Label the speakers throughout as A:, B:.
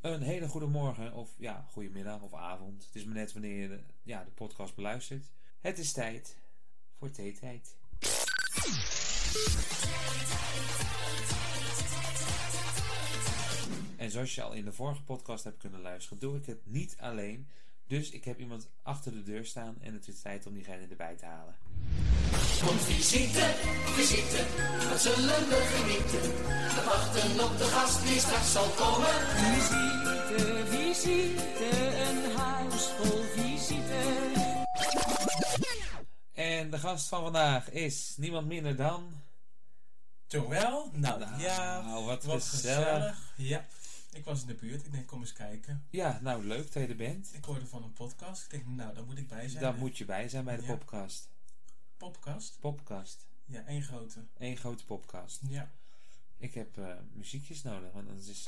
A: Een hele goede morgen, of ja, goedemiddag of avond. Het is maar net wanneer je de, ja, de podcast beluistert. Het is tijd voor theetijd. En zoals je al in de vorige podcast hebt kunnen luisteren, doe ik het niet alleen. Dus ik heb iemand achter de deur staan en het is tijd om diegene erbij te halen.
B: Komt visite, visite, wat zullen we genieten? We wachten op de gast die straks zal komen.
C: Visite, visite, een huis vol visite.
A: En de gast van vandaag is niemand minder dan.
D: Joël? Nou,
A: Nou,
D: ja,
A: wat gezellig.
D: gezellig. Ja, ik was in de buurt. Ik denk, kom eens kijken.
A: Ja, nou leuk dat je er bent.
D: Ik hoorde van een podcast. Ik denk, nou, daar moet ik bij zijn.
A: Daar moet je bij zijn bij de
D: Ja.
A: podcast.
D: Podcast?
A: Podcast.
D: Ja, één grote.
A: Eén grote podcast.
D: Ja.
A: Ik heb eh, muziekjes nodig, want anders is.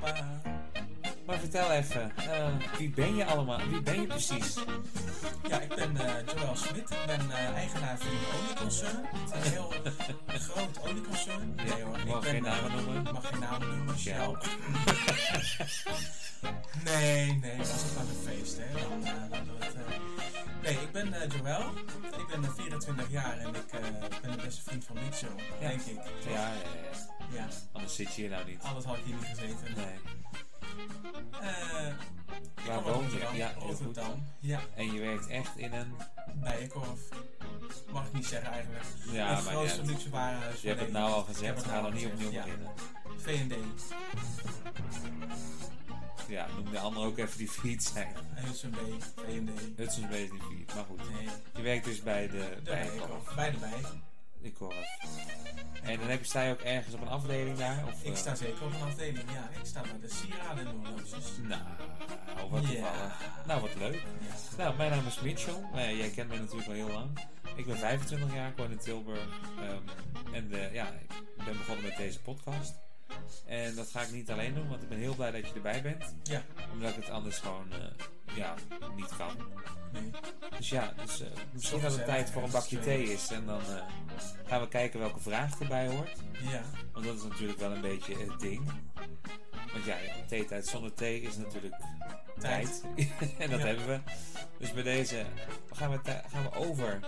D: Maar,
A: Maar vertel even, eh, wie ben je allemaal? Wie ben je precies?
D: ja, ik ben eh, Joël Smit. Ik ben eh, eigenaar van een olieconcern. Een heel groot olieconcern. Nee hoor,
A: Mag
D: ik ben...
A: geen namen noemen.
D: Ik mag geen namen noemen,
A: Ja.
D: Shell. nee, nee, dat is gewoon een feest, hè. Dan, eh, dan doen we het, eh. Nee, ik ben eh, Joël. Ik ben eh, 24 jaar en ik eh, ben de beste vriend van Micho,
A: Ja.
D: denk ik.
A: Ja, ja, ja.
D: Ja,
A: Anders zit je hier nou niet.
D: anders had ik hier niet gezeten.
A: Nee.
D: Eh, ik
A: Waar
D: kom uit
A: woon je?
D: Rotterdam.
A: Ja, heel goed.
D: Rotterdam. Ja,
A: En je werkt echt in een.
D: Bijenkorf. Mag ik niet zeggen eigenlijk.
A: Ja,
D: het
A: maar
D: grootste
A: ja,
D: luxe warenhuis.
A: Je hebt het
D: van
A: nou al
D: Nederland. Ik heb
A: gezegd,
D: het
A: ga
D: nou
A: nog
D: al
A: niet opnieuw
D: gezegd,
A: beginnen.
D: ja. V&D.
A: Ja, noem de ander ook even die failliet zijn.
D: Hudson B. V&D.
A: Het is een beetje niet failliet, maar goed.
D: Nee.
A: Je werkt dus bij de.
D: De
A: Bij de
D: Bijenkorf. Bij de Bijen.
A: de korf. En dan heb je, sta je ook ergens op een afdeling daar? Of,
D: Ik
A: eh,
D: sta zeker op een afdeling, ja. Ik sta bij de sieraden en horloges.
A: Nou, wat toevallig.
D: Ja.
A: Nou, wat leuk. Nou, mijn naam is Mitchell. Nou ja, jij kent mij natuurlijk al heel lang. Ik ben 25 jaar, ik woon in Tilburg. Ehm, en eh, ja, ik ben begonnen met deze podcast. En dat ga ik niet alleen doen, want ik ben heel blij dat je erbij bent.
D: Ja,
A: Omdat ik het anders gewoon eh, ja, niet kan.
D: nee.
A: Dus ja, dus, eh, misschien
D: Soms,
A: dat het
D: eh,
A: tijd voor een bakje
D: ergens,
A: thee is. En dan eh, gaan we kijken welke vraag erbij hoort.
D: Ja,
A: Want dat is natuurlijk wel een beetje het ding. Want ja, theetijd zonder thee is natuurlijk tijd.
D: Tijd.
A: en dat
D: Ja.
A: hebben we. Dus bij deze gaan we, tij- gaan we over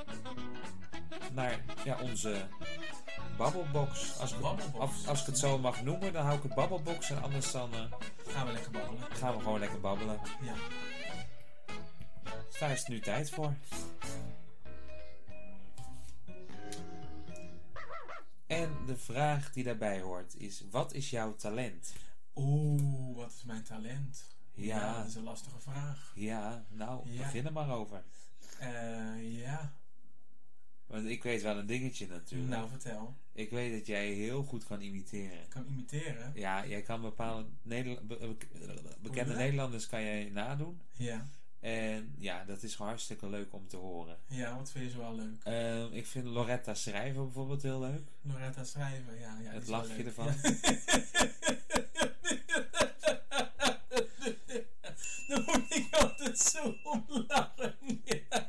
A: naar ja, onze babbelbox. Als ik, het-
D: Babbelbox.
A: Als, als ik het zo mag noemen, dan hou ik het babbelbox. En anders dan eh,
D: gaan we lekker babbelen.
A: gaan we gewoon lekker babbelen.
D: Ja.
A: Dus daar is het nu tijd voor. En de vraag die daarbij hoort is, wat is jouw talent?
D: Oeh, wat is mijn talent?
A: Ja.
D: Dat is een lastige vraag.
A: Ja, nou,
D: Ja.
A: begin er maar over.
D: Eh, ja.
A: Want ik weet wel een dingetje natuurlijk.
D: Nou, vertel.
A: Ik weet dat jij heel goed kan imiteren.
D: Ik kan imiteren.
A: Ja, jij kan bepaalde Nederla- be- be-
D: je
A: bekende
D: dat?
A: Nederlanders kan jij nadoen.
D: Ja.
A: En ja, dat is gewoon hartstikke leuk om te horen.
D: Ja, wat vind je zo wel leuk?
A: Ehm, ik vind Loretta Schrijver bijvoorbeeld heel leuk.
D: Loretta Schrijver, ja. ja die
A: Het
D: is wel
A: lachje
D: leuk.
A: ervan.
D: Dan moet ik altijd zo om lachen. Ja.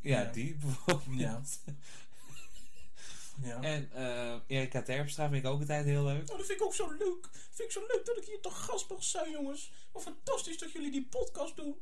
A: Ja,
D: Ja.
A: die bijvoorbeeld.
D: Ja. ja.
A: En eh, Erika Terpstra vind ik ook altijd heel leuk.
D: Oh, dat vind ik ook zo leuk. Dat vind ik zo leuk dat ik hier toch gast mag zijn, jongens. Wat fantastisch dat jullie die podcast doen.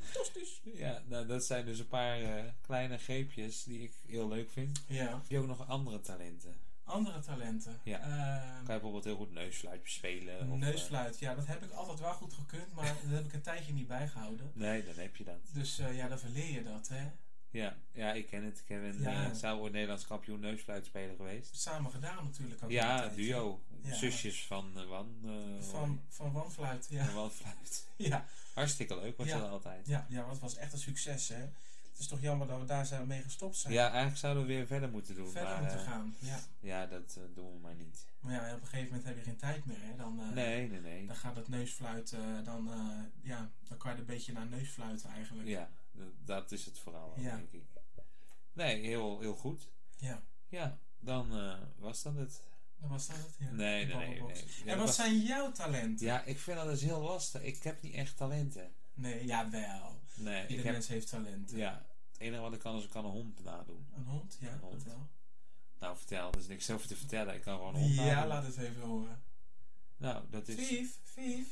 D: Fantastisch.
A: Ja, nou, dat zijn dus een paar eh, kleine greepjes die ik heel leuk vind.
D: Ja.
A: Heb je ook nog andere talenten?
D: Andere talenten.
A: Ja.
D: Ehm,
A: Kan je bijvoorbeeld heel goed neusfluitjes spelen? Of, eh,
D: neusfluit. Ja, dat heb ik altijd wel goed gekund, maar dat heb ik een tijdje niet bijgehouden.
A: nee, dan heb je dat.
D: Dus eh, ja, dan verleer je dat, hè.
A: Ja, ja ik ken het. Ik ben, eh
D: Ja.
A: zou ooit Nederlands kampioen neusfluitspeler geweest.
D: Samen gedaan natuurlijk ook.
A: Ja,
D: een tijdje.
A: duo.
D: Oh, Ja.
A: Zusjes van eh, Wan. eh,
D: Van, van wanfluit, ja.
A: van Wanfluit.
D: Ja,
A: Hartstikke leuk was
D: Ja.
A: dat altijd.
D: ja, ja, dat was echt een succes, hè. Het is toch jammer dat we daar zijn mee gestopt zijn.
A: Ja, eigenlijk zouden we weer verder moeten doen.
D: Verder
A: maar,
D: moeten
A: eh,
D: gaan, ja.
A: Ja, dat eh, doen we maar niet.
D: Maar ja, op een gegeven moment heb je geen tijd meer, hè. Dan, eh,
A: Nee, nee, nee.
D: Dan gaat het neusfluit, eh, dan, eh, ja, dan kan je er een beetje naar neusfluiten eigenlijk.
A: Ja, d- dat is het vooral,
D: Ja.
A: denk ik. Nee, heel, heel goed.
D: Ja.
A: Ja, dan eh, was dat het.
D: Dan was dat het, ja.
A: Nee,
D: De
A: nee, nee.
D: babbelbox.
A: nee. Ja, dat
D: en wat
A: was-
D: zijn jouw talenten?
A: Ja, ik vind dat dus heel lastig. Ik heb niet echt talenten.
D: Nee, jawel.
A: Nee, ik
D: Ieder
A: heb...
D: mens heeft talenten.
A: Ja, het enige wat ik kan is ik kan een hond nadoen.
D: Een hond, ja,
A: Een hond.
D: dat wel.
A: Nou, vertel, er is niks over te vertellen. Ik kan gewoon een hond
D: Ja,
A: nadoen.
D: laat het even horen.
A: Nou, dat is...
D: Vief, Vief,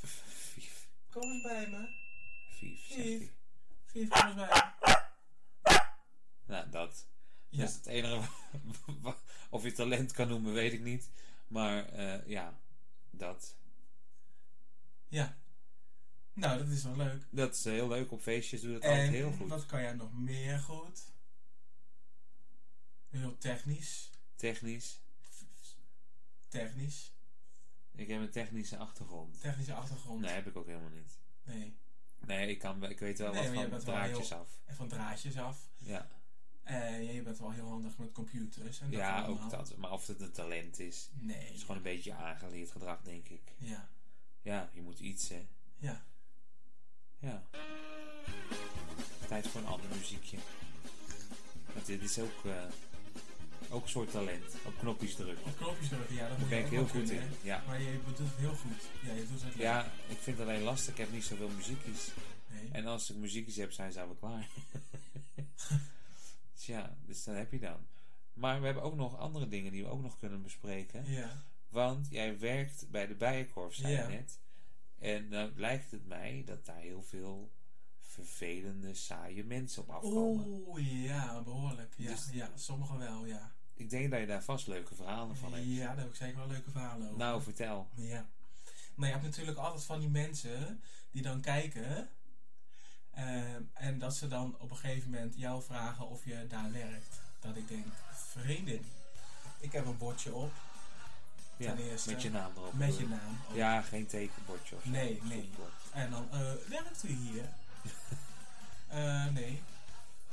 A: Vief.
D: kom eens bij me.
A: Vief, zegt
D: Vief.
A: hij.
D: Vief, kom eens bij me.
A: Nou, dat.
D: Ja.
A: Dat is het enige. wa- wa- of je talent kan noemen, weet ik niet. Maar eh, ja, dat.
D: Ja. Nou, dat is wel leuk.
A: Dat is heel leuk. Op feestjes doe je dat altijd
D: En
A: heel goed.
D: wat kan jij nog meer goed? Heel technisch.
A: Technisch.
D: Technisch.
A: Ik heb een technische achtergrond.
D: Technische achtergrond.
A: Nee, heb ik ook helemaal niet.
D: Nee.
A: Nee, ik, kan, ik weet wel
D: Nee, maar je
A: wat van
D: bent wel heel-
A: draadjes af.
D: En van draadjes af.
A: Ja,
D: En je bent wel heel handig met computers. En dat
A: ja
D: allemaal.
A: ook dat. Maar of het een talent is,
D: Nee.
A: is gewoon een beetje aangeleerd gedrag, denk ik.
D: Ja.
A: Ja, je moet iets, hè.
D: Ja.
A: Ja. Tijd voor een ander muziekje. Want dit is ook, eh, ook een soort talent. Op knopjes drukken.
D: Op knopjes drukken, ja, dat moet
A: Daar
D: je
A: ben ik
D: ook
A: heel
D: wel
A: goed
D: kunnen,
A: in.
D: hè.
A: Ja.
D: Maar je doet het heel goed. Ja, je doet het
A: ja, ik vind het alleen lastig. Ik heb niet zoveel muziekjes.
D: Nee.
A: En als ik muziekjes heb, zijn ze alweer klaar. dus ja, dus dat heb je dan. Maar we hebben ook nog andere dingen die we ook nog kunnen bespreken.
D: Ja.
A: Want jij werkt bij de Bijenkorf, zei
D: Ja.
A: je net. En dan lijkt het mij dat daar heel veel vervelende, saaie mensen op afkomen.
D: Oeh, ja, behoorlijk. Ja,
A: Dus-
D: ja, sommigen wel, ja.
A: Ik denk dat je daar vast leuke verhalen van hebt.
D: Ja, daar heb ik zeker wel leuke verhalen over.
A: Nou, vertel.
D: Ja. Maar je hebt natuurlijk altijd van die mensen die dan kijken. ehm, en dat ze dan op een gegeven moment jou vragen of je daar werkt. Dat ik denk, vriendin, ik heb een bordje op
A: Ja,
D: Ten eerste.
A: met je naam erop.
D: met je naam. op.
A: Ja, geen tekenbordje of zo.
D: Nee, nee.
A: Zoekbord.
D: En dan, eh, werkt u hier? Eh, nee.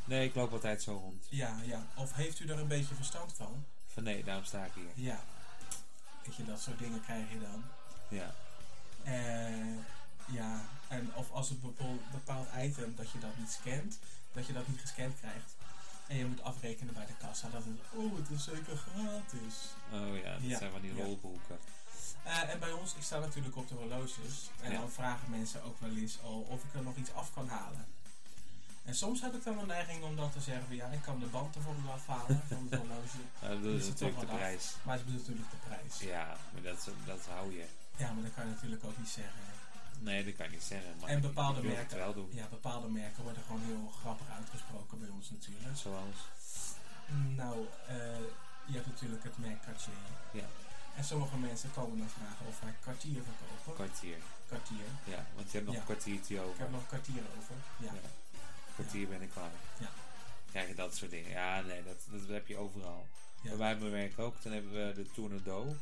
A: Nee, ik loop altijd zo rond.
D: Ja, ja. Of heeft u er een beetje verstand van?
A: Van nee, daarom sta ik hier.
D: Ja. Weet je, dat soort dingen krijg je dan.
A: Ja.
D: Eh, ja, en of als het bijvoorbeeld een bepaald item dat je dat niet scant, dat je dat niet gescand krijgt. En je moet afrekenen bij de kassa dat het, oh, het is zeker gratis.
A: Oh ja, dat
D: Ja,
A: zijn van die
D: ja.
A: rolboeken.
D: Eh, en bij ons, ik sta natuurlijk op de horloges. En
A: Ja.
D: dan vragen mensen ook wel eens al of ik er nog iets af kan halen. En soms heb ik dan een neiging om dan te zeggen, ja, ik kan de band bijvoorbeeld afhalen van het horloge.
A: Nou, dat
D: Is
A: is
D: het
A: natuurlijk de
D: toch wat af?
A: prijs.
D: Maar het is natuurlijk de prijs. Ja.
A: Ja, maar dat, dat hou je.
D: maar dat kan je natuurlijk ook niet zeggen. hè.
A: Nee, dat kan ik niet zeggen. Maar
D: En
A: ik-
D: bepaalde
A: ik wil
D: merken.
A: het wel doen.
D: Ja, bepaalde merken worden gewoon heel grappig uitgesproken bij ons natuurlijk.
A: Zoals.
D: Nou, eh, je hebt natuurlijk het merk Cartier.
A: Ja.
D: En sommige mensen komen dan vragen of wij Cartier verkopen.
A: Kwartier.
D: Cartier.
A: Ja, want je hebt nog
D: Ja.
A: een kwartiertje
D: Ik heb
A: over.
D: nog Cartier over. Ja.
A: Ja. Kwartier ben ik klaar.
D: Ja.
A: Krijg je dat soort dingen. Ja, nee, dat, dat heb je overal.
D: Ja.
A: Bij mij op mijn werk ook. Dan hebben we de Tornado.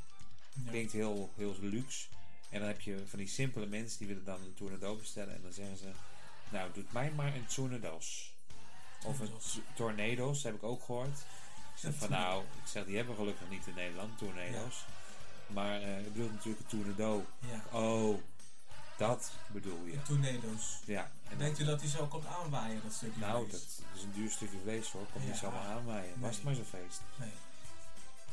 D: Ja.
A: Klinkt heel, heel luxe. En dan heb je van die simpele mensen die willen dan een tornado bestellen. En dan zeggen ze, nou doet mij maar een tornado's. Of een
D: Tornado's.
A: t- tornado's, heb ik ook gehoord. Ik zeg van nou, ik zeg die hebben we gelukkig niet in Nederland, tornado's. Maar eh, ik bedoel natuurlijk een tornado.
D: Ja.
A: Oh, dat bedoel je.
D: Tornado's.
A: Ja. En
D: Denkt u dat hij zo komt aanwaaien, dat stukje
A: Nou,
D: vlees?
A: dat is een duur stukje vlees hoor. Kom
D: Ja.
A: niet zomaar aanwaaien. Was het
D: Nee.
A: maar zo'n feest.
D: Nee.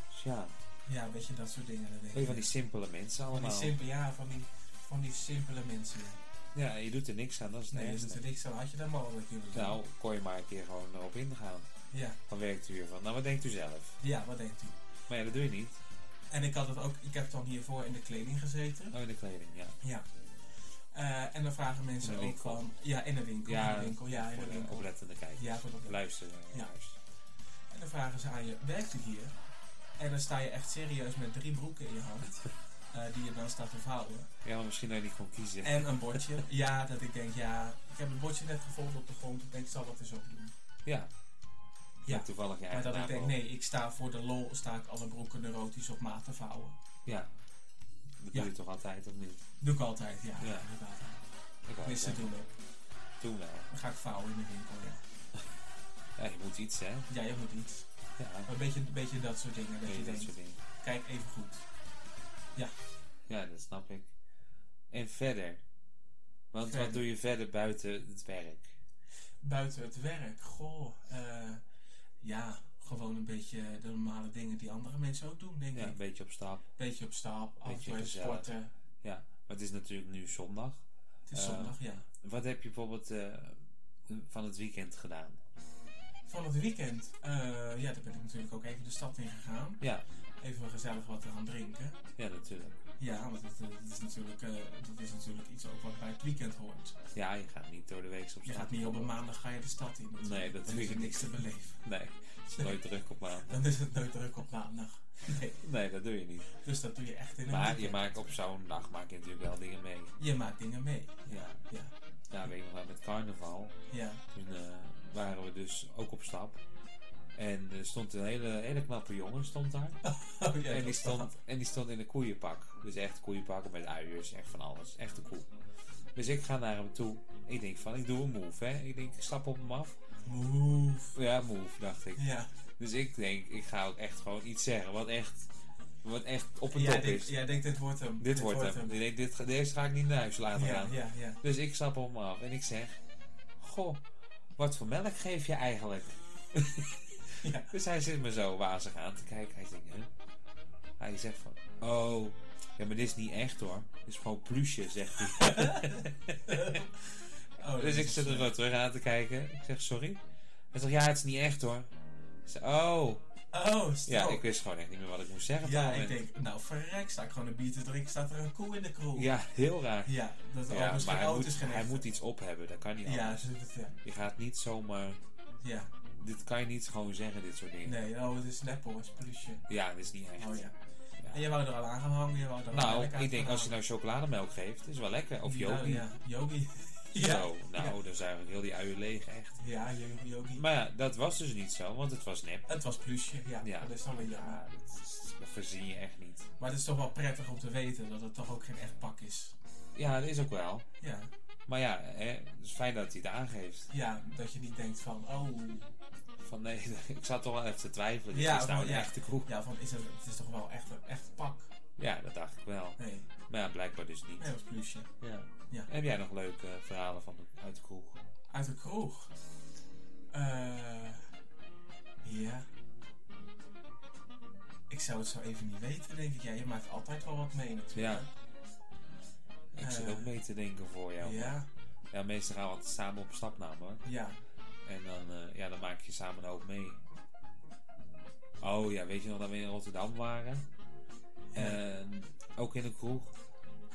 A: Dus ja,
D: Ja, weet je, dat soort dingen. Dat denk
A: Heel
D: ik.
A: van die simpele mensen
D: Van die
A: allemaal.
D: simpele, ja, van die, van die simpele mensen. ja.
A: Ja, je doet er niks aan, dat is het
D: Nee, dus
A: ergste.
D: dat ik zo had je dat mogelijk willen doen.
A: Nou, kon je maar een keer gewoon erop ingaan.
D: Ja.
A: Van werkt u hiervan? Nou, wat denkt u zelf?
D: ja, wat denkt u?
A: Maar ja, dat doe je niet.
D: En ik had het ook, ik heb dan hiervoor in de kleding gezeten.
A: Oh, in de kleding, ja.
D: Ja. Eh, en dan vragen mensen
A: In de
D: ook
A: winkel.
D: van. Ja, in de winkel. Ja, in de winkel. Ja, in
A: voor
D: de
A: de
D: winkel.
A: oplettende eh, kijkers.
D: Ja, voor de oplettende-
A: Luisteren.
D: Ja.
A: luisteren.
D: En dan vragen ze aan je: werkt u hier? En dan sta je echt serieus met drie broeken in je hand. eh, die je dan staat te vouwen.
A: ja, maar misschien dat je niet kon kiezen.
D: En een bordje. Ja, dat ik denk: ja, ik heb een bordje net gevonden op de grond. Ik denk, ik zal dat eens opdoen.
A: ja.
D: Ja.
A: Met toevallig je
D: maar
A: eigen
D: dat ik
A: naam
D: denk:
A: erop.
D: nee, ik sta voor de lol. Sta ik alle broeken neurotisch op maat te vouwen.
A: Ja. Dat
D: Ja.
A: doe je toch altijd, of niet?
D: Doe ik altijd, ja.
A: Ja.
D: ja. Doe ik altijd.
A: Ik wou
D: Tenminste,
A: zeggen,
D: doen ik.
A: toen wel.
D: Dan ga ik vouwen in de winkel, ja.
A: Ja, je moet iets, hè?
D: Ja, je moet iets.
A: Ja.
D: Maar Een beetje, een beetje Oh, dat soort dingen. Dat
A: Nee,
D: je
A: dat
D: denkt,
A: soort dingen.
D: kijk even goed.
A: Ja, dat snap ik. En verder. Want
D: Verder.
A: wat doe je verder buiten het werk?
D: Buiten het werk, goh. eh, ja, gewoon een beetje de normale dingen die andere mensen ook doen, denk
A: Ja,
D: ik.
A: een beetje op stap.
D: Beetje op stap, af en
A: Beetje
D: toe even
A: gezellig.
D: sporten.
A: Ja, maar het is natuurlijk nu zondag.
D: Het is
A: Eh.
D: zondag, ja.
A: Wat heb je bijvoorbeeld eh, van het weekend gedaan?
D: Van het weekend, eh, ja, daar ben ik natuurlijk ook even de stad in gegaan.
A: Ja,
D: Even gezellig wat te gaan drinken.
A: ja natuurlijk.
D: Ja, want het, eh, het is natuurlijk, eh, dat is natuurlijk iets ook wat bij het weekend hoort.
A: Ja, je gaat niet door de week op
D: Je
A: straat.
D: gaat niet op een maandag ga je de stad in. natuurlijk.
A: Nee, dat
D: Dan
A: doe
D: is
A: je
D: er niks te beleven.
A: Nee, het is nooit druk op maandag.
D: Dan is het nooit druk op maandag. Nee,
A: Nee, dat doe je niet.
D: dus dat doe je echt in een
A: Maar je
D: weekend.
A: maakt op zo'n dag maak je natuurlijk wel dingen mee.
D: Je maakt dingen mee.
A: Ja.
D: Ja,
A: Ja, weet ik nog wel, met carnaval.
D: ja.
A: Toen eh, waren we dus ook op stap. En er stond een hele, hele knappe jongen stond daar.
D: Oh, ja
A: en, die
D: dat
A: stond,
D: staat.
A: en die stond in een koeienpak. Dus echt koeienpak met uiers, echt van alles. Echt een koe. Dus ik ga naar hem toe. Ik denk van, ik doe een move, hè. Ik denk, ik stap op hem af.
D: Move.
A: Ja, move, dacht ik.
D: Ja.
A: Dus ik denk, ik ga ook echt gewoon iets zeggen wat echt, wat echt op een
D: Jij
A: top
D: denkt,
A: is.
D: jij denkt, dit wordt hem.
A: Dit wordt hem. Ik denk, dit, ga- deze ga ik niet naar huis laten
D: Ja,
A: gaan.
D: ja, ja.
A: Dus ik stap op hem af en ik zeg, goh, wat voor melk geef je eigenlijk?
D: Ja.
A: Dus hij zit me zo wazig aan te kijken. Hij denkt, huh? Hij zegt van, oh, ja, maar dit is niet echt hoor. Dit is gewoon plusje, zegt hij.
D: Oh, dat
A: dus
D: is
A: ik zit er zo terug aan te kijken. Ik zeg, sorry? Hij zegt, ja, het is niet echt hoor. Ik zeg, oh.
D: Oh, stel.
A: Ja, ik wist gewoon echt niet meer wat ik moest zeggen. op dat
D: Ja, ik
A: moment.
D: denk, nou verrek, sta ik gewoon een bier te drinken, staat er een koe in de kroeg.
A: Ja, heel raar.
D: Ja, dat
A: Ja,
D: oh, dus
A: maar
D: geen
A: hij
D: auto's
A: moet,
D: geen
A: hij
D: echte.
A: moet iets op hebben, dat kan niet
D: Ja,
A: anders.
D: zo dat, ja.
A: Je gaat niet zomaar...
D: ja.
A: Dit kan je niet gewoon zeggen, dit soort dingen.
D: Nee, oh, het is Neppel, het is plusje.
A: Ja, dit is niet echt.
D: Oh ja.
A: Ja.
D: En jij wou er al aan gaan hangen, jij wou er al
A: Nou,
D: melk aan
A: ik denk
D: gaan
A: als je
D: hangen.
A: nou chocolademelk geeft, is wel lekker. Of yogi.
D: Ja, ja, yogi. ja.
A: Zo, nou, dan zijn we heel die uien leeg, echt.
D: Ja, yo- yogi.
A: Maar ja, dat was dus niet zo, want het was nep.
D: Het was plusje, ja.
A: Ja.
D: Dat is dan weer ja.
A: Ja, dat, is- dat verzin je echt niet.
D: Maar het is toch wel prettig om te weten dat het toch ook geen echt pak is.
A: Ja, dat is ook wel.
D: Ja.
A: Maar ja, hè, het is fijn dat hij het aangeeft.
D: Ja, dat je niet denkt van, oh,
A: Van nee, ik zat toch wel even te twijfelen. Dit
D: Ja,
A: is nou
D: van,
A: een
D: ja.
A: echte kroeg.
D: ja, van is het, het is toch wel echt een echt pak?
A: Ja, dat dacht ik wel.
D: Nee,
A: Maar ja, blijkbaar dus niet.
D: nee, dat is plusje.
A: Ja.
D: Ja.
A: Heb jij nog leuke verhalen van de, uit de kroeg?
D: Uit de kroeg. Eh ja. Ik zou het zo even niet weten, denk ik. Ja, je maakt altijd wel wat mee natuurlijk.
A: Ik zit
D: Eh.
A: ook mee te denken voor jou.
D: ja,
A: Ja, meestal gaan we altijd samen op stap namelijk.
D: ja.
A: En dan, eh, ja, dan maak je samen een hoop mee. Oh ja, weet je nog dat we in Rotterdam waren? En ook in de kroeg.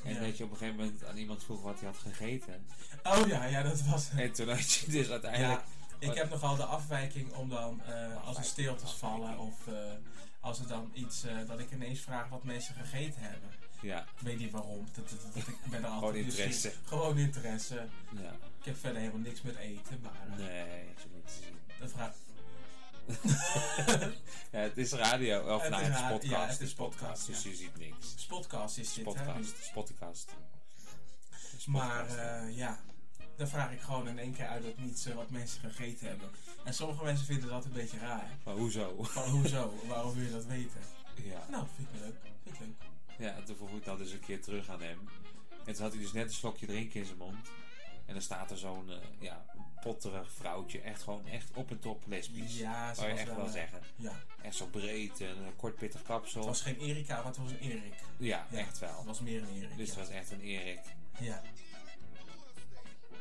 A: En
D: Ja.
A: dat je op een gegeven moment aan iemand vroeg wat hij had gegeten.
D: Oh ja, ja, dat was het.
A: En toen had je dus uiteindelijk...
D: Ja, ik heb nogal de afwijking om dan, eh, als er stiltes vallen of eh, als er dan iets, eh, dat ik ineens vraag wat mensen gegeten hebben.
A: Ja,
D: Ik weet niet waarom. Dat, dat, dat- ik ben er altijd
A: Gewoon interesse.
D: nieuwsgierig. Gewoon interesse.
A: ja.
D: Ik heb verder helemaal niks met eten, maar eh,
A: Nee, dat is ook niet te zien.
D: dat vraag
A: Ja, het is radio. Of
D: Het
A: nou,
D: is
A: het is
D: ra-
A: podcast.
D: ja, het is podcast,
A: Dus
D: ja.
A: je ziet niks.
D: Spotcast is dit, hè? Dus,
A: Podcast. Spotcast. Spotcast.
D: Maar eh, ja, dan vraag ik gewoon in één keer uit dat niets eh, wat mensen gegeten hebben. En sommige mensen vinden dat een beetje raar.
A: Maar hoezo?
D: Van hoezo? Waarom wil je dat weten?
A: Ja.
D: Nou, vind ik leuk. Vind ik leuk.
A: Ja, en toen vroeg ik dat dus een keer terug aan hem. En toen had hij dus net een slokje drinken in zijn mond. En dan staat er zo'n eh, ja, potterig vrouwtje. Echt gewoon echt op en top lesbisch.
D: Ja, ze
A: Zou je
D: was
A: echt
D: wel,
A: wel
D: eh,
A: zeggen.
D: Ja,
A: Echt zo breed en een kort pittig kapsel.
D: het was geen Erika, maar het was een Erik.
A: Ja,
D: Ja.
A: echt wel.
D: Het was meer een Erik.
A: Dus eh, het
D: ja.
A: was echt een Erik.
D: ja.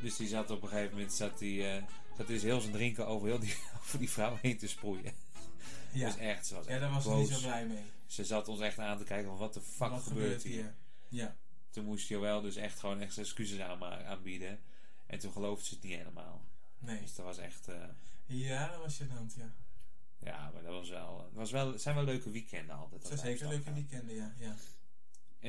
A: Dus die zat op een gegeven moment, zat hij eh, zat dus heel zijn drinken over, heel die, over die vrouw heen te sproeien.
D: Ja.
A: Dus echt, ze was
D: ja,
A: echt
D: daar was ik
A: boos.
D: niet zo blij mee.
A: Ze zat ons echt aan te kijken van wat de fuck
D: Wat
A: gebeurt hier?
D: Ja.
A: Toen moest Joël dus echt gewoon echt zijn excuses aan, aanbieden. En toen geloofde ze het niet helemaal.
D: Nee.
A: Dus dat was echt, eh,
D: Ja, dat was gênant, ja.
A: ja, maar dat was wel, het was wel, het zijn wel leuke weekenden altijd.
D: Het
A: als
D: was
A: wij op
D: zeker
A: stap
D: leuke
A: gaan.
D: weekenden, ja. ja.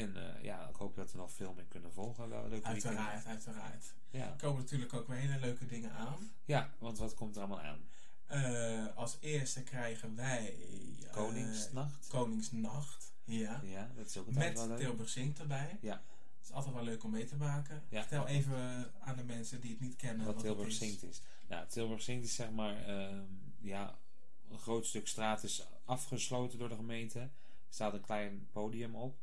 A: En eh, ja, ik hoop dat we nog veel meer kunnen volgen. Wel leuke weekenden.
D: Uiteraard, uiteraard.
A: Ja.
D: Er komen natuurlijk ook weer hele leuke dingen aan.
A: ja, want wat komt er allemaal aan?
D: Eh, als eerste krijgen wij... eh,
A: Koningsnacht?
D: Koningsnacht, ja.
A: ja, dat is ook altijd wel
D: Met
A: leuk.
D: Tilburg Zingt erbij.
A: Ja.
D: Het is altijd wel leuk om mee te maken.
A: Ja.
D: Vertel even eh, aan de mensen die het niet kennen
A: Wat
D: het
A: Tilburg
D: is.
A: Zingt is. Nou, Tilburg Zingt is zeg maar, ehm, ja, een groot stuk straat is afgesloten door de gemeente. Er staat een klein podium op.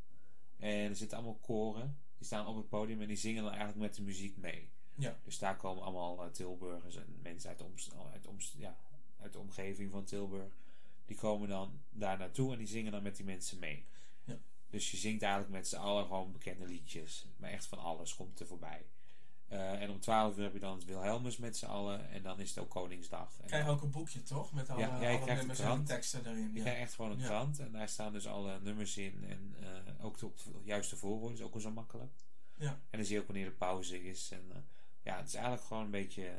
A: En er zitten allemaal koren. Die staan op het podium en die zingen dan eigenlijk met de muziek mee.
D: Ja.
A: Dus daar komen allemaal eh, Tilburgers en mensen uit de, omst- oh, uit, de omst- ja, uit de omgeving van Tilburg. Die komen dan daar naartoe en die zingen dan met die mensen mee.
D: Ja.
A: Dus je zingt eigenlijk met z'n allen gewoon bekende liedjes. Maar echt van alles komt er voorbij. Eh, en om 12 uur heb je dan het Wilhelmus met z'n allen. En dan is het ook Koningsdag. En
D: krijg
A: dan-
D: ook een boekje, toch? Met alle,
A: Ja, ja, je
D: alle
A: krijgt een
D: nummers en de
A: krant.
D: teksten erin.
A: Je
D: Ja.
A: krijgt echt gewoon een
D: Ja.
A: krant en daar staan dus alle nummers in en eh, ook de- op de juiste voorwoord is ook wel zo makkelijk.
D: Ja.
A: En dan zie je ook wanneer de pauze is en eh, ja, het is eigenlijk gewoon een beetje... eh,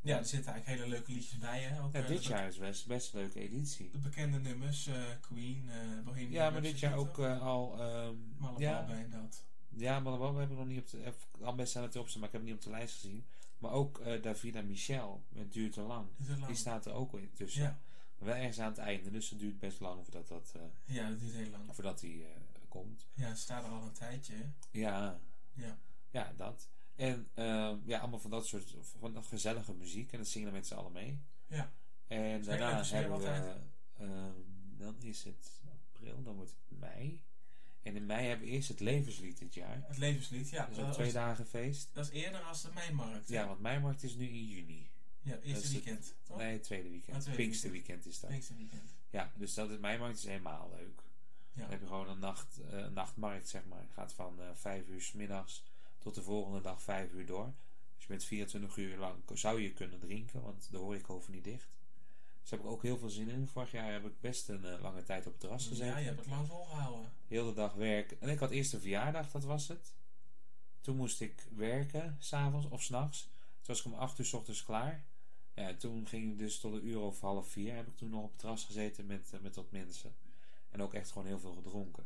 D: ja, er zitten eigenlijk hele leuke liedjes bij. Hè? Ook,
A: ja,
D: eh,
A: dit
D: de-
A: jaar is best, best een leuke editie.
D: De bekende nummers, eh, Queen, eh Bohemian
A: Ja, maar
D: Rhapsody,
A: dit jaar ook
D: toch?
A: eh, al... ehm, ja,
D: Malabar bij en dat.
A: ja, Malababa heb ik nog niet op de... heb ik Al best aan het opstaan, maar ik heb hem niet op de lijst gezien. Maar ook eh, Davina Michel, het duurt te lang.
D: Dit is
A: Die dus,
D: lang.
A: staat er ook in tussen.
D: Ja.
A: Maar wel ergens aan het einde, dus het duurt best lang voordat, dat, eh,
D: ja, dat duurt heel lang.
A: voordat die eh, komt.
D: Ja, het staat er al een tijdje. hè?
A: Ja,
D: Ja.
A: Ja, dat. En ehm, ja, allemaal van dat soort van dat gezellige muziek. En dat zingen we met z'n allen mee.
D: Ja.
A: En
D: Zeker,
A: daarna
D: dat is
A: hebben we...
D: weer altijd.
A: ehm, dan is het april, dan wordt het mei. En in mei hebben we eerst het levenslied dit jaar.
D: Het levenslied, ja.
A: Dat is
D: dat,
A: ook twee
D: Oh, is,
A: dagen feest.
D: dat is eerder als de Mijnmarkt. hè?
A: Ja, want mijnmarkt is nu in juni.
D: ja
A: dat
D: eerste
A: is het-
D: weekend. Toch?
A: Nee, het tweede
D: Ah,
A: weekend.
D: tweede
A: Pinksterweekend is dat.
D: Linkse weekend.
A: Ja, dus dat is mijnmarkt is helemaal leuk.
D: Ja.
A: Dan heb je gewoon een, nacht, eh, een nachtmarkt, zeg maar. Het gaat van eh 5 uur s middags tot de volgende dag 5 uur door. Dus je bent 24 uur lang zou je kunnen drinken, want de horeca hoeft niet dicht. Dus daar heb ik ook heel veel zin in. Vorig jaar heb ik best een eh, lange tijd op het terras gezeten.
D: Ja, je hebt het lang volgehouden.
A: Heel de dag werk. En ik had eerst een verjaardag, dat was het. Toen moest ik werken, s'avonds of s'nachts. Toen was ik om 8 uur s ochtends klaar. Ja, en toen ging ik dus tot een uur of half vier. Heb ik toen nog op het terras gezeten met, eh, met wat mensen. En ook echt gewoon heel veel gedronken.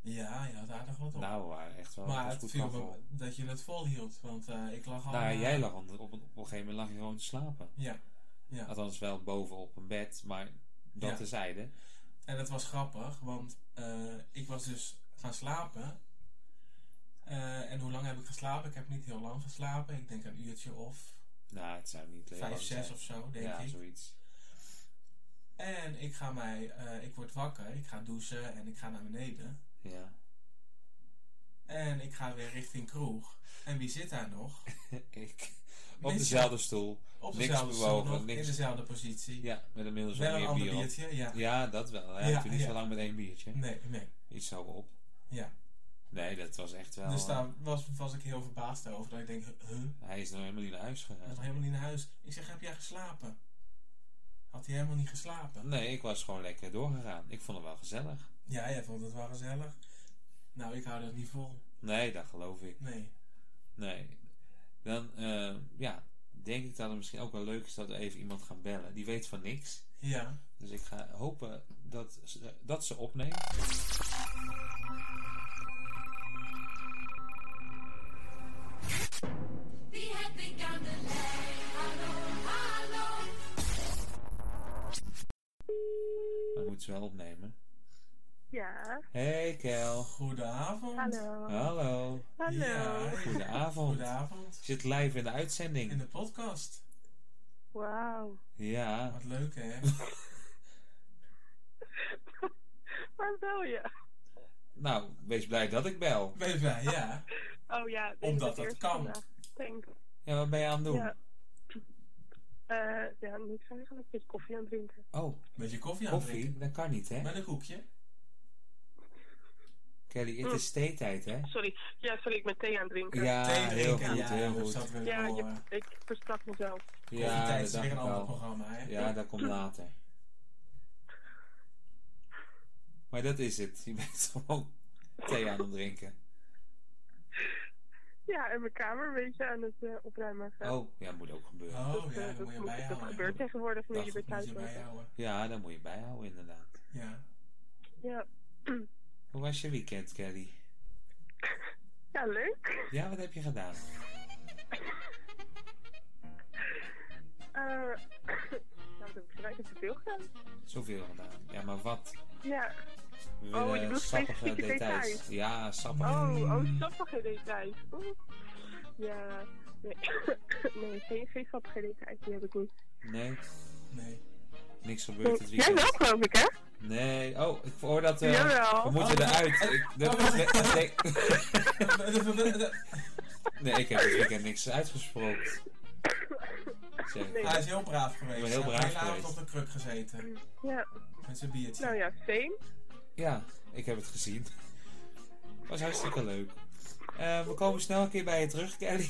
D: Ja, je had aardig wat op.
A: Nou, we waren echt wel
D: maar
A: het was
D: het
A: goed
D: viel
A: kachel.
D: me dat je het volhield. Want eh, ik lag al...
A: Nou,
D: eh,
A: jij lag op een, op een gegeven moment lag je gewoon te slapen.
D: Ja. Ja.
A: Althans wel boven op een bed, maar dat
D: Ja.
A: tezijde.
D: En dat was grappig, want eh, ik was dus gaan slapen. Eh, en hoe lang heb ik geslapen? Ik heb niet heel lang geslapen. Ik denk een uurtje of
A: Nou, het zou niet leuk
D: vijf,
A: zijn.
D: zes of zo, denk
A: Ja,
D: ik.
A: zoiets.
D: En ik ga mij, eh, ik word wakker, ik ga douchen en ik ga naar beneden.
A: Ja.
D: En ik ga weer richting kroeg. En wie zit daar nog?
A: ik. Op
D: Mensen-
A: dezelfde stoel.
D: Op
A: Niks
D: dezelfde stoel
A: bewogen,
D: nog, in
A: niks.
D: dezelfde positie.
A: Ja, met inmiddels
D: Wel
A: al
D: een
A: meer
D: ander
A: bier op.
D: biertje, ja.
A: Ja, dat wel. Hij
D: Ja,
A: heeft niet
D: ja.
A: zo lang met één biertje.
D: Nee, nee,
A: Iets zo op.
D: ja.
A: Nee, dat was echt wel...
D: Dus
A: eh,
D: daar was, was ik heel verbaasd over. Dat ik denk, huh?
A: Hij is nog helemaal niet naar huis
D: Hij is
A: gegaan.
D: nog helemaal niet naar huis. Ik zeg, heb jij geslapen? Had hij helemaal niet geslapen?
A: Nee, ik was gewoon lekker doorgegaan. Ik vond het wel gezellig.
D: Ja, jij vond het wel gezellig. Nou, ik hou dat niet vol.
A: Nee, dat geloof ik.
D: Nee.
A: Nee. Dan eh, ja, denk ik dat het misschien ook wel leuk is dat we even iemand gaan bellen. Die weet van niks.
D: Ja.
A: Dus ik ga hopen dat ze, dat ze opneemt.
E: Wie heb ik aan de lijn? Hallo, hallo.
A: Dan moet ze wel opnemen.
F: Ja,
A: Hey Kel.
D: Goedenavond.
F: hallo.
A: Hallo.
F: Hallo.
D: Ja,
A: Goedenavond. Je
D: goedenavond.
A: zit live in de
D: In
A: uitzending.
D: de podcast.
F: Wauw.
A: Ja.
D: Wat leuk, hè?
F: Waar wil je?
A: Nou, wees blij dat ik bel.
D: Ben je blij? Ja.
F: Oh ja, dit is
D: Omdat
F: het
D: dat
F: eerste
D: kan.
F: vandaag. Thanks.
A: Ja, wat ben je aan het doen?
F: Ja. Eh ja, niks eigenlijk. Ik ben koffie aan het drinken.
A: Oh,
D: Beetje koffie aan het drinken.
A: koffie? Dat kan niet, hè?
D: Met een koekje.
A: Kelly, het is theetijd, hè?
F: Sorry. Ja, sorry, ik ben thee aan het drinken.
A: Ja,
D: Thee
A: heel
D: drinken.
A: goed,
D: ja, dus
A: heel
D: dat
A: goed.
D: zat weer
F: Ja,
D: door.
F: je- ik verstap mezelf.
A: Ja,
D: Koffietijd
A: dat
D: is weer
A: dacht ik
D: een ander
A: al.
D: programma, hè?
A: Ja, dat komt later. Maar dat is het. Je bent gewoon thee aan het drinken.
F: Ja, en mijn kamer een beetje aan het eh, opruimen. eh,
A: Oh, ja, moet ook gebeuren.
D: Oh ja,
F: dat,
D: dat moet je
F: moet- dat
D: bijhouden.
F: gebeurt tegenwoordig nu
A: Dat
F: je weer
D: Moet
F: thuis
D: je
F: bent.
D: bijhouden.
A: Ja, daar moet je bijhouden, inderdaad.
D: Ja.
F: Ja.
A: Hoe was je weekend, Kelly?
F: ja, leuk.
A: Ja, wat heb je gedaan?
F: Eh nou, dat heb ik gelijk even veel gedaan.
A: Zoveel gedaan. Ja, maar wat?
F: Ja.
A: We
F: Oh, je
A: willen
F: bedoelt
A: sappige
F: specifieke
A: details.
F: details.
A: Ja, sappige.
F: Oh, oh, sappige details. Oeh. Ja, nee. nee, geen, geen sappige details, die heb ik niet.
A: Nee,
D: Nee.
A: niks gebeurd dit
F: Jij wel,
A: weekend.
F: geloof ik, hè?
A: Nee, oh, ik hoor dat... eh,
F: Jawel.
A: we moeten eruit. Ik, de-
F: Oh.
A: de- nee, ik heb dit weekend niks uitgesproken. Zeg.
F: Nee.
D: Hij is heel braaf geweest.
A: Ik ben heel braaf
D: Hij heeft de hele avond
A: geweest.
D: op de kruk gezeten.
F: Ja,
D: Met zijn biertje.
F: nou ja, same.
A: Ja, ik heb het gezien. Was hartstikke leuk. Eh, we komen snel een keer bij je terug, Kelly.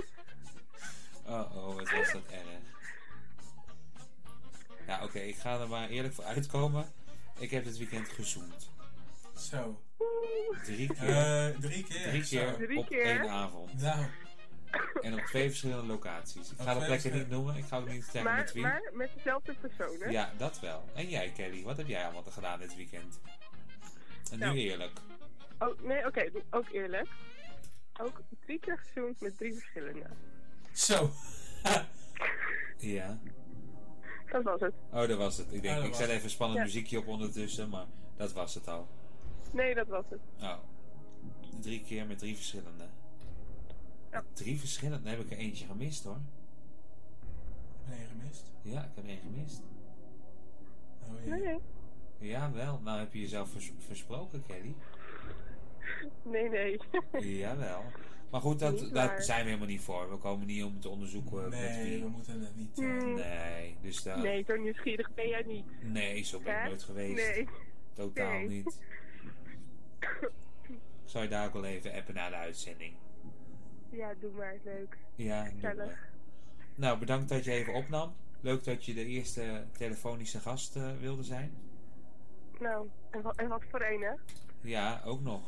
A: oh, oh, wat was dat erg. Ja, oké, ik ga er maar eerlijk voor uitkomen. Ik heb dit weekend gezoend.
D: Zo.
A: Drie keer.
D: Eh, drie keer.
A: drie keer
D: Zo.
F: Drie
A: op
F: keer?
A: één avond.
D: Nou,
A: En op twee verschillende locaties. Ik
D: Op
A: ga de
D: twee
A: plekken niet
D: verschillende-
A: noemen. Ik ga ook niet zeggen met
F: Maar,
A: wie.
F: maar met dezelfde persoon, hè?
A: Ja, dat wel. En jij, Kelly, wat heb jij allemaal gedaan dit weekend? En
F: Nou.
A: nu eerlijk.
F: Oh, nee, oké, doe- ook eerlijk. Ook drie keer gezoend met drie verschillende.
D: zo.
A: Ja.
F: Dat was het.
A: Oh, dat was het. Ik denk,
D: dat
A: ik
D: was
A: zet
D: het.
A: even een spannend
F: Ja.
A: muziekje op ondertussen, maar dat was het al.
F: Nee, dat was het.
A: Oh. Drie keer met drie verschillende.
F: Ja.
A: Drie verschillende? Dan heb ik er eentje gemist hoor.
D: Nee, gemist.
A: Ja, ik heb er één gemist.
D: Oh, ja.
F: Nee, nee.
A: Jawel, nou heb je jezelf vers- versproken, Kelly.
F: Nee, nee.
A: Jawel. Maar goed, dat,
F: Niet
A: daar
F: waar.
A: zijn we helemaal niet voor. We komen niet om te onderzoeken met
D: Nee,
A: wie.
D: we moeten het niet. eh,
F: Hmm.
A: Nee, dus daar.
F: Nee, zo nieuwsgierig ben jij niet.
A: Nee, zo ben ik
F: Hè?
A: nooit geweest.
F: Nee.
A: Totaal
F: Nee.
A: niet. Ik zal je daar ook wel even appen na de uitzending.
F: Ja, doe maar. Leuk.
A: Ja, eh, doen
F: Gezellig.
A: we. Nou, bedankt dat je even opnam. Leuk dat je de eerste telefonische gast eh, wilde zijn.
F: Nou, en, wa- en wat voor een, hè?
A: Ja, ook nog.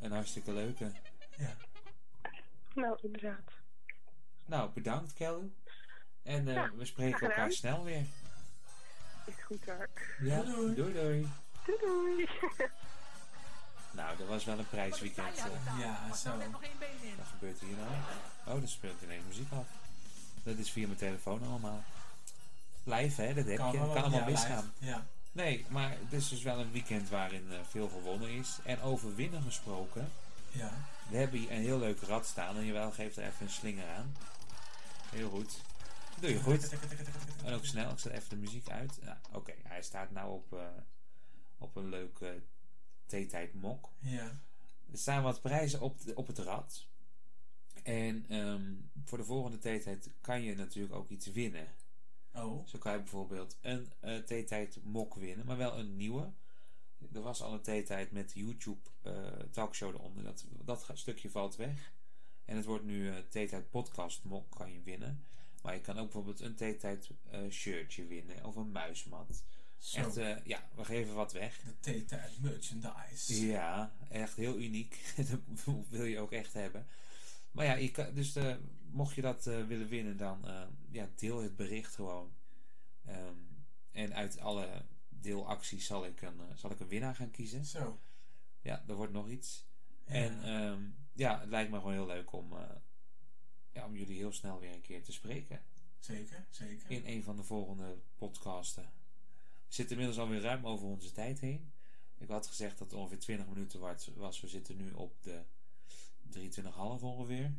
A: Een hartstikke leuke.
D: Ja.
F: Nou, inderdaad.
A: Nou, bedankt Kelly. En eh,
F: Ja,
A: we spreken
F: graag
A: elkaar
F: gedaan.
A: snel weer.
F: Is goed hoor.
A: Ja,
D: Doei.
A: doei doei.
F: Doei doei.
A: Nou, dat was wel een prijsweekend. eh.
D: Ja, zo.
A: Wat gebeurt hier nou? Oh, er speelt ineens muziek af. Dat is via mijn telefoon allemaal. Live, hè? Dat heb je. Kan allemaal
D: ja,
A: misgaan.
D: live. Ja.
A: Nee, maar het is dus wel een weekend waarin eh, veel gewonnen is. En over winnen gesproken.
D: Ja.
A: We hebben hier een heel leuk rad staan. En jawel, geeft er even een slinger aan. Heel goed. Doe je goed. En ook snel. Ik zet even de muziek uit. Ja, Oké, hij staat nou op, eh, op een leuke theetijdmok.
D: Ja.
A: Er staan wat prijzen op, de- op het rad. En ehm, voor de volgende theetijd kan je natuurlijk ook iets winnen.
D: Oh.
A: Zo kan je bijvoorbeeld een eh theetijd mok winnen, maar wel een nieuwe. Er was al een theetijd met YouTube eh, talkshow eronder. Dat, dat ga- stukje valt weg. En het wordt nu eh theetijd podcast mok kan je winnen. Maar je kan ook bijvoorbeeld een theetijd eh, shirtje winnen of een muismat.
D: Zo.
A: Echt, eh, ja, we geven wat weg.
D: De theetijd merchandise.
A: Ja, echt heel uniek. dat wil je ook echt hebben. Maar ja, je kan, dus eh, mocht je dat eh, willen winnen, dan eh, ja, deel het bericht gewoon. Ehm, en uit alle deelacties zal ik, een, eh, zal ik een winnaar gaan kiezen.
D: Zo.
A: Ja, er wordt nog iets.
D: Ja.
A: En ehm, ja, het lijkt me gewoon heel leuk om, eh, ja, om jullie heel snel weer een keer te spreken.
D: Zeker, zeker.
A: In een van de volgende podcasten. We zitten inmiddels alweer ruim over onze tijd heen. Ik had gezegd dat het ongeveer 20 minuten waard was. We zitten nu op de 23,5 ongeveer.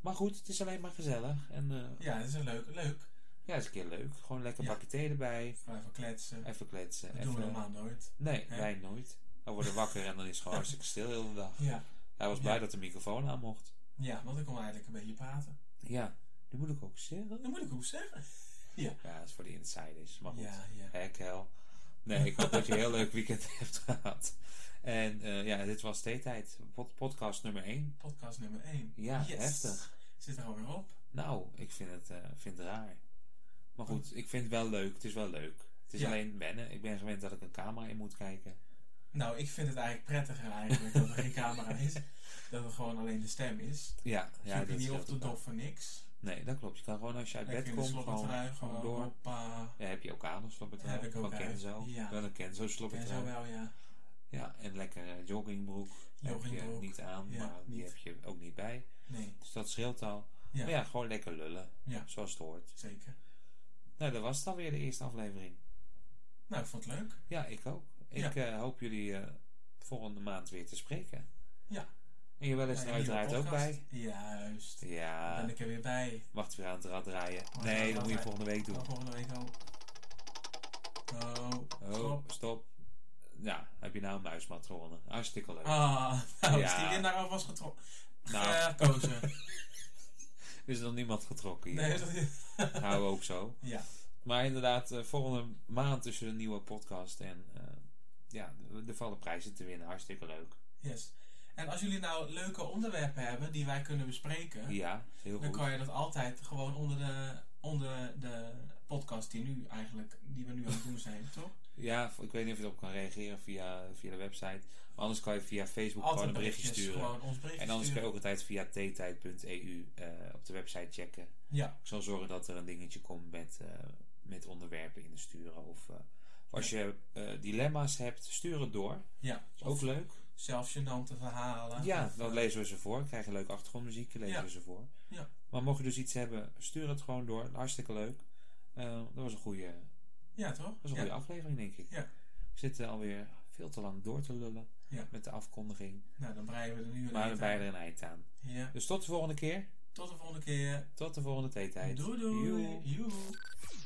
A: Maar goed, het is alleen maar gezellig. En eh,
D: Ja, dat is een leuk. Leuk.
A: ja, is een keer leuk. Gewoon lekker een
D: Ja.
A: bakje thee erbij.
D: Gewoon even kletsen.
A: Even kletsen.
D: dat
A: Eh, even,
D: doen we normaal nooit.
A: Nee,
D: Hè?
A: wij nooit. Dan worden we wakker en dan is het gewoon hartstikke stil de hele dag.
D: Ja.
A: Hij was blij
D: Ja.
A: dat de microfoon aan mocht.
D: Ja, want ik kon eigenlijk een beetje praten.
A: Ja, nu moet ik ook zeggen.
D: Dat moet ik ook zeggen.
A: Ja, dat is voor de insiders. Maar goed.
D: Ja, ja.
A: Heck hell. Nee, ik hoop dat je een heel leuk weekend hebt gehad. En eh, ja, dit was Theetijd. Pod podcast nummer 1.
D: Podcast nummer 1.
A: Ja, heftig.
D: Zit er alweer op.
A: Nou, ik vind het, eh, vind het raar. Maar goed, ik vind het wel leuk. Het is wel leuk. Het is
D: Ja.
A: alleen wennen. Ik ben gewend dat ik een camera in moet kijken.
D: Nou, ik vind het eigenlijk prettiger eigenlijk dat er geen camera is. Dat het gewoon alleen de stem is.
A: Ja, ja
D: Zit je niet
A: scheelt
D: op de
A: ook wel.
D: dop voor niks.
A: Nee, dat klopt. Je kan gewoon als je uit bed
D: Lekker in de
A: komt, gewoon,
D: slobbertrui
A: gewoon
D: gewoon
A: door.
D: hoppa.
A: Ja, heb je ook aan een slobbertrui
D: Heb ik ook
A: van
D: aan.
A: Kenzo.
D: Ja.
A: Wel een Kenzo
D: En zo
A: slobbertrui.
D: wel, ja.
A: Ja, en lekker eh, joggingbroek. Heb je
D: Joggingbroek.
A: niet aan,
D: Ja,
A: maar die
D: niet.
A: heb je ook niet bij.
D: Nee.
A: Dus dat scheelt al.
D: Ja,
A: Maar ja, gewoon lekker lullen.
D: Ja.
A: Zoals het hoort.
D: zeker.
A: Nou, dat was dan weer de eerste aflevering.
D: Nou, ik vond het leuk.
A: Ja, ik ook.
D: Ja.
A: Ik eh, hoop jullie eh, volgende maand weer te spreken.
D: Ja.
A: En je wel eens
D: Nou,
A: er
D: een nieuwe
A: uiteraard ook
D: podcast.
A: bij.
D: Juist.
A: Ja,
D: Ben ik er weer bij.
A: wacht weer aan het rad draaien.
D: aan het
A: Nee,
D: rad
A: dat moet je
D: draaien.
A: volgende week doen.
D: Dan volgende week al. Oh,
A: Oh,
D: stop.
A: stop. Ja, heb je nou een muismat gewonnen. Hartstikke leuk.
D: Ah, nou
A: Ja.
D: is die winnaar alvast getrokken.
A: Nou.
D: Gekozen.
A: Er is nog niemand getrokken hier.
D: Nee, is dat niet?
A: Houden we ook zo.
D: Ja,
A: Maar inderdaad, eh, volgende maand is er een nieuwe podcast. En eh, ja, er vallen prijzen te winnen. Hartstikke leuk.
D: yes. En als jullie nou leuke onderwerpen hebben die wij kunnen bespreken,
A: Ja, heel
D: dan
A: goed.
D: kan je dat altijd gewoon onder de, onder de podcast die nu eigenlijk, die we nu aan het doen zijn, toch?
A: Ja, ik weet niet of je erop kan reageren via, via de website. Maar anders kan je via Facebook gewoon
D: Altijd
A: een berichtje
D: berichtjes,
A: sturen.
D: gewoon ons berichtje
A: En anders kun
D: sturen.
A: je ook altijd via ttijd.eu eh, op de website checken.
D: Ja,
A: Ik zal zorgen dat er een dingetje komt met, eh, met onderwerpen in te sturen. Of eh, als je eh, dilemma's hebt, stuur het door.
D: ja.
A: Is
D: Of
A: ook leuk.
D: zelf gênante verhalen.
A: Ja,
D: Of,
A: dan
D: eh,
A: lezen we ze voor. Krijgen leuke achtergrondmuziek, lezen
D: Ja.
A: we ze voor.
D: Ja.
A: Maar mocht je dus iets hebben, stuur het gewoon door. Hartstikke leuk. Eh, dat was een goede,
D: Ja, toch?
A: dat was een
D: ja.
A: goede aflevering, denk ik.
D: Ja.
A: We zitten alweer veel te lang door te lullen
D: Ja.
A: met de afkondiging.
D: Nou, dan breien we er nu een
A: Maar we
D: eind
A: bij
D: aan.
A: er een eind aan.
D: Ja.
A: Dus tot de volgende keer.
D: Tot de volgende keer.
A: Tot de volgende theetijd.
D: Doei doei.
A: Joe.
D: Joe.